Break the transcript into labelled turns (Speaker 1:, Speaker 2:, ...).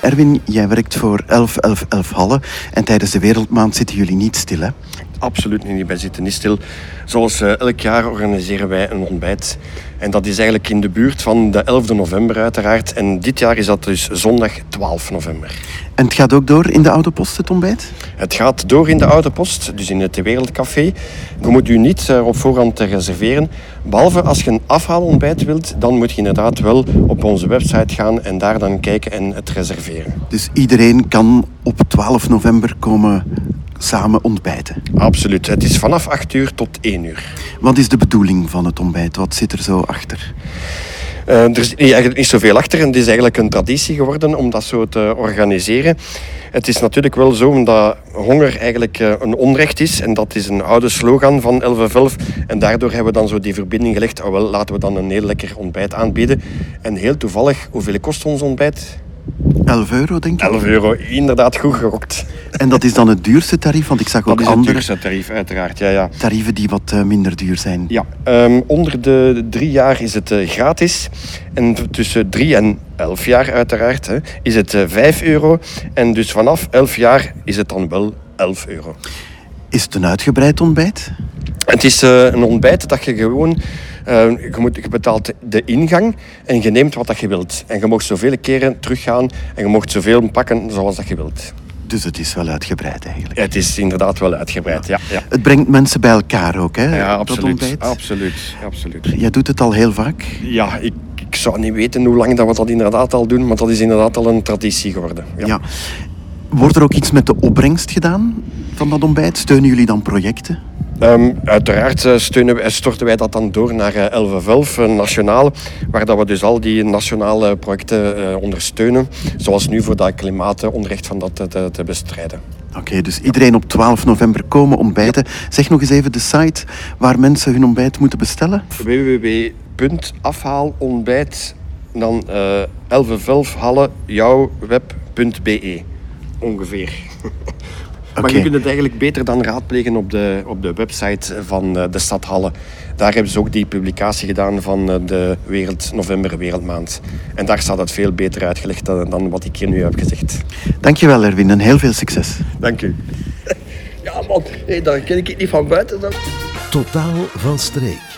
Speaker 1: Erwin, jij werkt voor 11 11 11 Halle en tijdens de Wereldmaand zitten jullie niet stil, hè?
Speaker 2: Absoluut niet, wij zitten niet stil. Zoals eh, elk jaar organiseren wij een ontbijt. En dat is eigenlijk in de buurt van de 11 november uiteraard. En dit jaar is dat dus zondag 12 november.
Speaker 1: En het gaat ook door in de oude post, het ontbijt?
Speaker 2: Het gaat door in de Oude Post, dus in het Wereldcafé. Je moet u niet eh, op voorhand eh, reserveren. Behalve als je een afhaalontbijt wilt, dan moet je inderdaad wel op onze website gaan en daar dan kijken en het reserveren.
Speaker 1: Dus iedereen kan op 12 november komen samen ontbijten.
Speaker 2: Absoluut. Het is vanaf 8 uur tot 1 uur.
Speaker 1: Wat is de bedoeling van het ontbijt? Wat zit er zo achter?
Speaker 2: Eh, er is niet- eigenlijk niet zoveel achter en het is eigenlijk een traditie geworden om dat zo te organiseren. Het is natuurlijk wel zo omdat honger eigenlijk eh, een onrecht is en dat is een oude slogan van 1111 en daardoor hebben we dan zo die verbinding gelegd, ah, wel, laten we dan een heel lekker ontbijt aanbieden. En heel toevallig, hoeveel kost ons ontbijt?
Speaker 1: 11 euro, denk ik.
Speaker 2: 11 euro, inderdaad goed gerokt.
Speaker 1: En dat is dan het duurste tarief, want ik zag
Speaker 2: Dat
Speaker 1: ook
Speaker 2: is het
Speaker 1: andere
Speaker 2: duurste tarief uiteraard, ja ja.
Speaker 1: tarieven die wat eh, minder duur zijn.
Speaker 2: Ja, ehm, onder de drie jaar is het eh, gratis. En t- tussen drie en elf jaar uiteraard hè, is het eh, vijf euro. En dus vanaf elf jaar is het dan wel elf euro.
Speaker 1: Is het een uitgebreid ontbijt?
Speaker 2: Het is eh, een ontbijt dat je gewoon... eh, je, moet, je betaalt de ingang en je neemt wat dat je wilt. En je mag zoveel keren teruggaan en je mag zoveel pakken zoals dat je wilt.
Speaker 1: Dus het is wel uitgebreid eigenlijk.
Speaker 2: Het is inderdaad wel uitgebreid, ja. Ja,
Speaker 1: Het brengt mensen bij elkaar ook, hè?
Speaker 2: ja
Speaker 1: Dat
Speaker 2: absoluut,
Speaker 1: ontbijt.
Speaker 2: absoluut, absoluut.
Speaker 1: Jij doet het al heel vaak.
Speaker 2: Ja, ik, ik zou niet weten hoe lang dat we dat inderdaad al doen, maar dat is inderdaad al een traditie geworden. Ja.
Speaker 1: Ja. Wordt er ook iets met de opbrengst gedaan van dat ontbijt? Steunen jullie dan projecten?
Speaker 2: Ehm, uiteraard eh, steunen, wij- storten wij dat dan door naar eh, 1111 eh, nationaal, waar dat we dus al die nationale projecten eh, ondersteunen, zoals nu voor dat klimaatonrecht van dat te- te, te bestrijden.
Speaker 1: Oké, dus iedereen op 12 november komen ontbijten. Zeg nog eens even de site waar mensen hun ontbijt moeten bestellen.
Speaker 2: www.afhaalontbijt dan 1111 halle jouw web.be ongeveer. Maar
Speaker 1: Oké.
Speaker 2: je kunt het eigenlijk beter dan raadplegen op de, op de website van eh, de stad Halle. Daar hebben ze ook die publicatie gedaan van eh, de wereld, november wereldmaand. En daar staat het veel beter uitgelegd dan, dan wat ik hier nu heb gezegd.
Speaker 1: Dankjewel Erwin en heel veel succes.
Speaker 2: Dank u.
Speaker 3: Ja man, hey, daar ken ik niet van buiten. Dan.
Speaker 4: Totaal van streek.